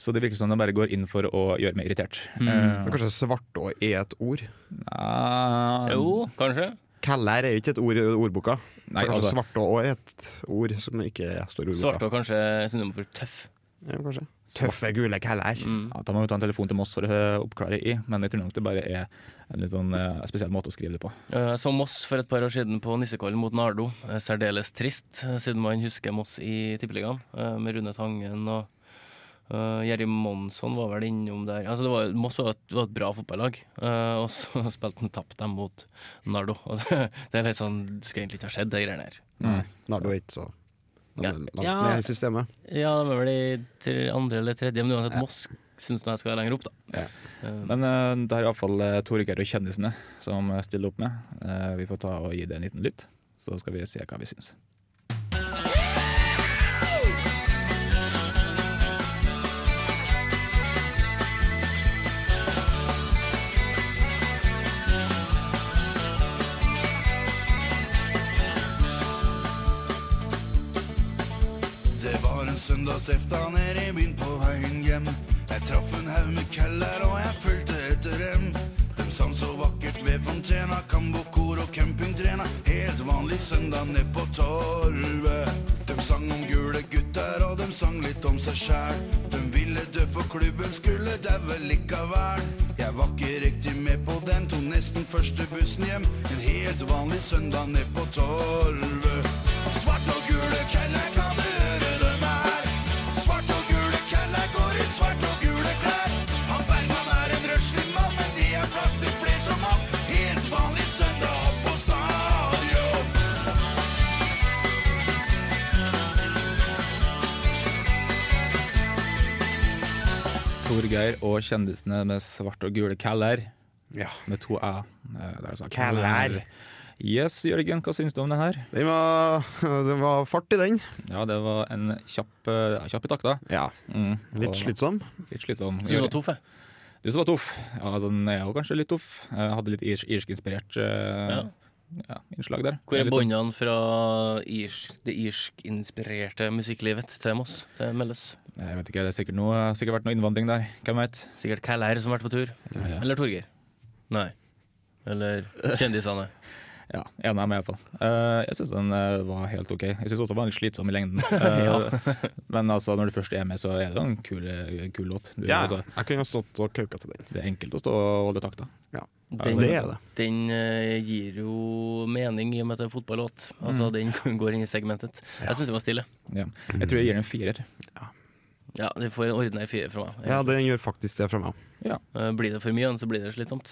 [SPEAKER 5] Så det virker som de bare går inn for å gjøre meg irritert.
[SPEAKER 4] Men
[SPEAKER 5] Eh,
[SPEAKER 4] Mm. Kanskje svartå er et ord?
[SPEAKER 5] nei,
[SPEAKER 3] Jo, kanskje.
[SPEAKER 4] Keller er jo ikke et ord i ordboka.
[SPEAKER 5] Nei,
[SPEAKER 4] så kanskje
[SPEAKER 5] altså-
[SPEAKER 4] svartå også er et ord som ikke står i
[SPEAKER 3] Svarte
[SPEAKER 4] ordboka.
[SPEAKER 3] var kanskje synonym for tøff.
[SPEAKER 4] Ja, kanskje. Tøffe gule keller.
[SPEAKER 3] Mm.
[SPEAKER 5] Ja, da må vi ta en telefon til Moss for å oppklare i, men jeg tror nok det bare er en litt sånn eh, spesiell måte å skrive det på.
[SPEAKER 3] Eh, Så Moss for et par år siden på Nissekollen mot Nardo. Eh, Særdeles trist, eh, siden man husker Moss i Tippeligaen, eh, med Rune Tangen og eh, Jerry Monsson var vel innom der. Altså det var, Moss var et, var et bra fotballag, eh, og så spilte de tapte dem mot Nardo. Og det, det er litt sånn, det skal egentlig ikke ha skjedd, de greiene her.
[SPEAKER 4] Nei, Nardo er ikke så de
[SPEAKER 3] Ja.
[SPEAKER 4] er langt
[SPEAKER 3] Ja.
[SPEAKER 4] ned i systemet.
[SPEAKER 3] Ja, de er vel i tre- andre eller tredje, men uansett, Moss syns nå jeg skal være lenger opp, da. Eh,
[SPEAKER 5] Men uh, det er iallfall uh, Torgeir og kjendisene som eh, stiller opp med. Eh, vi får ta og gi det en liten lytt, så skal vi se hva vi syns.
[SPEAKER 13] Det var en søndagsefta nede i byen på veien hjem. Jeg traff en haug med keller, og jeg fulgte etter dem. Dem sang så vakkert ved fontena, kambokor og campingtrena. Helt vanlig søndag ned på torvet. Dem sang om gule gutter, og dem sang litt om seg sjæl. Dem ville dø for klubben skulle daue likevel. Jeg var ikke riktig med på den, tok nesten første bussen hjem. En helt vanlig søndag ned på torvet. Svart og gule keller, kan du høre dem her? Svart og gule keller går i svart og gule klær. Han Bergman er en røslig mann, men det er plass til fler som han. Helt vanlig søndag opp på stadion.
[SPEAKER 5] Torgeir og kjendisene med svart og gule keller.
[SPEAKER 4] Ja.
[SPEAKER 5] Med to æ. Eh, det er altså
[SPEAKER 4] Keller.
[SPEAKER 5] Yes, Jørgen, hva syns du om den her?
[SPEAKER 4] Den var, den var fart i den.
[SPEAKER 5] Ja, det var en kjapp, eh, ja, kjapp i takta.
[SPEAKER 4] Ja.
[SPEAKER 5] Mm, og-
[SPEAKER 4] Litt slitsom.
[SPEAKER 5] Litt slitsom.
[SPEAKER 3] Så du var tøff, jeg.
[SPEAKER 5] Du som var tøff. Ja, den er jo kanskje litt tøff. Jeg hadde litt irsk- irsk-inspirert eh, ja, innslag der.
[SPEAKER 3] Hvor er
[SPEAKER 5] Litt sånn-
[SPEAKER 3] båndene fra irsk, det irsk-inspirerte musikklivet til Moss, til Melles?
[SPEAKER 5] Jeg vet ikke, det er sikkert, noe, sikkert vært noe innvandring der. Hvem vet?
[SPEAKER 3] Sikkert Kællær som har vært på tur.
[SPEAKER 5] Ja, ja.
[SPEAKER 3] Eller Torgeir. Nei. Eller kjendisene.
[SPEAKER 5] Ja, en av dem i hvert fall. Eh, jeg syns den eh, var helt ok. Jeg syns også den var litt slitsom i lengden. Eh, men altså, når du først er med, så er det jo en kul, eh, kul låt. Du,
[SPEAKER 4] Ja,
[SPEAKER 5] altså,
[SPEAKER 4] jeg kunne ha stått og kauka til den.
[SPEAKER 5] det er enkelt å stå og holde takta.
[SPEAKER 4] Ja,
[SPEAKER 3] Den eh, gir jo mening i og med at det er fotballåt. Altså,
[SPEAKER 5] Mm.
[SPEAKER 3] Den går inn i segmentet. Jeg syns det var stille.
[SPEAKER 5] Ja. Jeg tror jeg gir den en firer.
[SPEAKER 3] Ja, det får en ordinær firer fra meg.
[SPEAKER 4] Ja, den gjør faktisk det fra meg òg.
[SPEAKER 3] Eh, Blir det for mye, så blir det slitsomt.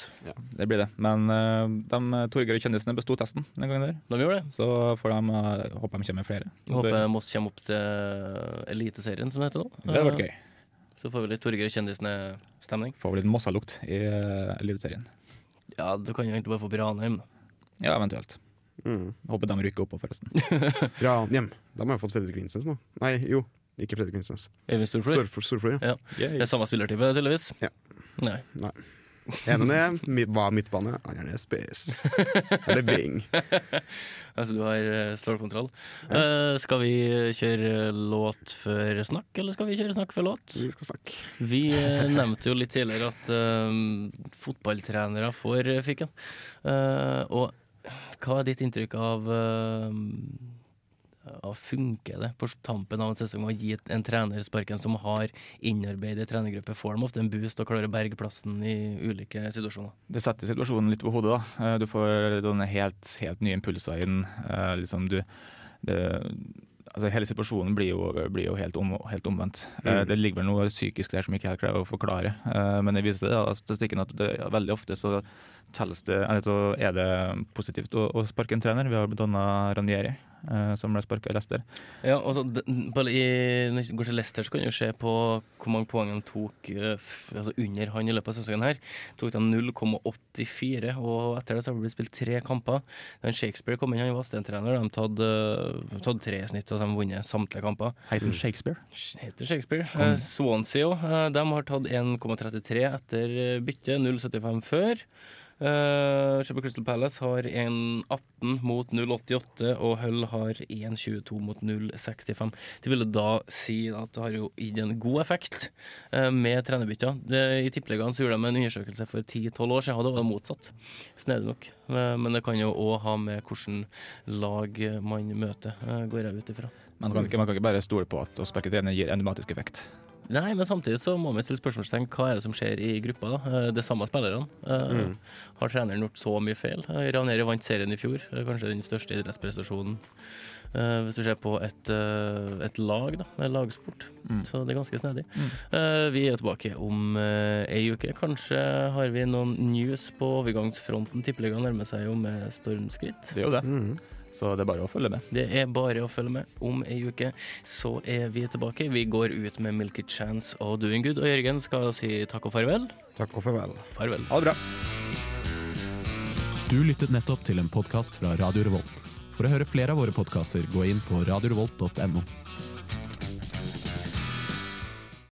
[SPEAKER 5] Det blir det. Men uh, de Torgeir og kjendisene besto testen den gangen der.
[SPEAKER 3] De gjorde det.
[SPEAKER 5] Så får de, eh, håper de kommer med flere.
[SPEAKER 3] Jeg håper Moss kommer opp til Eliteserien, som det heter nå. Eh,
[SPEAKER 5] Det hadde vært gøy.
[SPEAKER 3] Så får vi litt Torgeir Kjendisene-stemning.
[SPEAKER 5] Får vel litt Mossa-lukt i uh, Eliteserien.
[SPEAKER 3] Ja, du kan jo egentlig bare få Branheim, da.
[SPEAKER 5] Ja, eventuelt.
[SPEAKER 4] Mm.
[SPEAKER 5] Håper de rykker opp, forresten.
[SPEAKER 4] Ranhjem. De har jo fått Fredrik Vinsnes nå. Nei, jo, ikke Fredrik Vinsnes.
[SPEAKER 3] Øyvind Storflor?
[SPEAKER 4] Storf- Storflor, ja.
[SPEAKER 3] Ja. Det er samme spillertype, tydeligvis.
[SPEAKER 4] Ja.
[SPEAKER 3] Nei.
[SPEAKER 4] Nei. Ene er mid- var midtbane, andre er space. Eller bing.
[SPEAKER 3] altså, du har eh, stålkontroll. Eh, skal vi kjøre eh, låt før snakk, eller skal vi kjøre snakk før låt?
[SPEAKER 4] Vi skal snakke.
[SPEAKER 3] Vi eh, nevnte jo litt tidligere at eh, fotballtrenere får eh, fikken. Eh, og hva er ditt inntrykk av eh, av Funker det på tampen av en sesong å gi en trener sparken som har innarbeidet trenergruppe? Får de ofte en boost og klarer å berge plassen i ulike situasjoner?
[SPEAKER 5] Det setter situasjonen litt på hodet. da. Eh, Du får sånne helt, helt nye impulser inn. Eh, Liksom du, det, altså hele situasjonen blir jo, blir jo helt, om, helt omvendt. Eh,
[SPEAKER 9] Mm.
[SPEAKER 5] Det ligger vel noe psykisk der som jeg ikke helt klarer å forklare. Eh, Men det viser det, da, statistikken at det, ja, veldig ofte så, telles det, eller så er det positivt å, å sparke en trener. Vi har bl.a. Ranieri, eh, som ble sparka i Leicester.
[SPEAKER 3] Ja, altså, d- på, i, Når vi går til Leicester, så kan vi jo se på hvor mange poeng han tok eh, f- altså under han i løpet av sesongen. her. Tok de 0,84, og etter det så har det blitt spilt tre kamper. Men Shakespeare kom inn, han var assistent-trener. De tatt, eh, tatt tre i snitt, og de har vunnet samtlige kamper.
[SPEAKER 5] Heter han Shakespeare?
[SPEAKER 3] Heter Shakespeare. Eh, Swansea òg. De har tatt 1,33 etter eh, bytte, 0,75 før. Uh, Crystal Palace har 1,18 mot 0,88, og Hull har 1,22 mot 0,65. Det ville da si at det har jo gitt en god effekt eh, med trenerbytter. Det- I Tippeligaen så gjorde de en undersøkelse for 10-12 år siden, og da var det motsatt. Snedig nok. Eh, men det kan jo òg ha med hvilken lag eh, man møter, eh, går jeg ut ifra.
[SPEAKER 5] Man kan, ikke, man kan ikke bare stole på at å sparke trener gir automatisk effekt.
[SPEAKER 3] Nei, men samtidig så må vi stille spørsmålstegn hva er det som skjer i gruppa. da? Eh, Det samme spillerne. Eh,
[SPEAKER 5] Mm.
[SPEAKER 3] Har treneren gjort så mye feil? Eh, Ranieri vant serien i fjor. Eh, Kanskje den største idrettsprestasjonen eh, hvis du ser på et, eh, et lag, da. En lagsport.
[SPEAKER 5] Mm.
[SPEAKER 3] Så det er ganske snedig. Eh, Vi er tilbake om eh, ei uke. Kanskje har vi noen news på overgangsfronten. Tippeligaen nærmer seg jo med stormskritt.
[SPEAKER 5] Det er jo det. Så det er bare å følge med.
[SPEAKER 3] Det er bare å følge med. Om ei uke så er vi tilbake. Vi går ut med Milky Chance og Doing Good. Og Jørgen skal si takk og farvel.
[SPEAKER 4] Takk og farvel.
[SPEAKER 3] Farvel.
[SPEAKER 5] Ha det bra.
[SPEAKER 14] Du lyttet nettopp til en podkast fra Radio Revolt. For å høre flere av våre podkaster, gå inn på radiorevolt.no.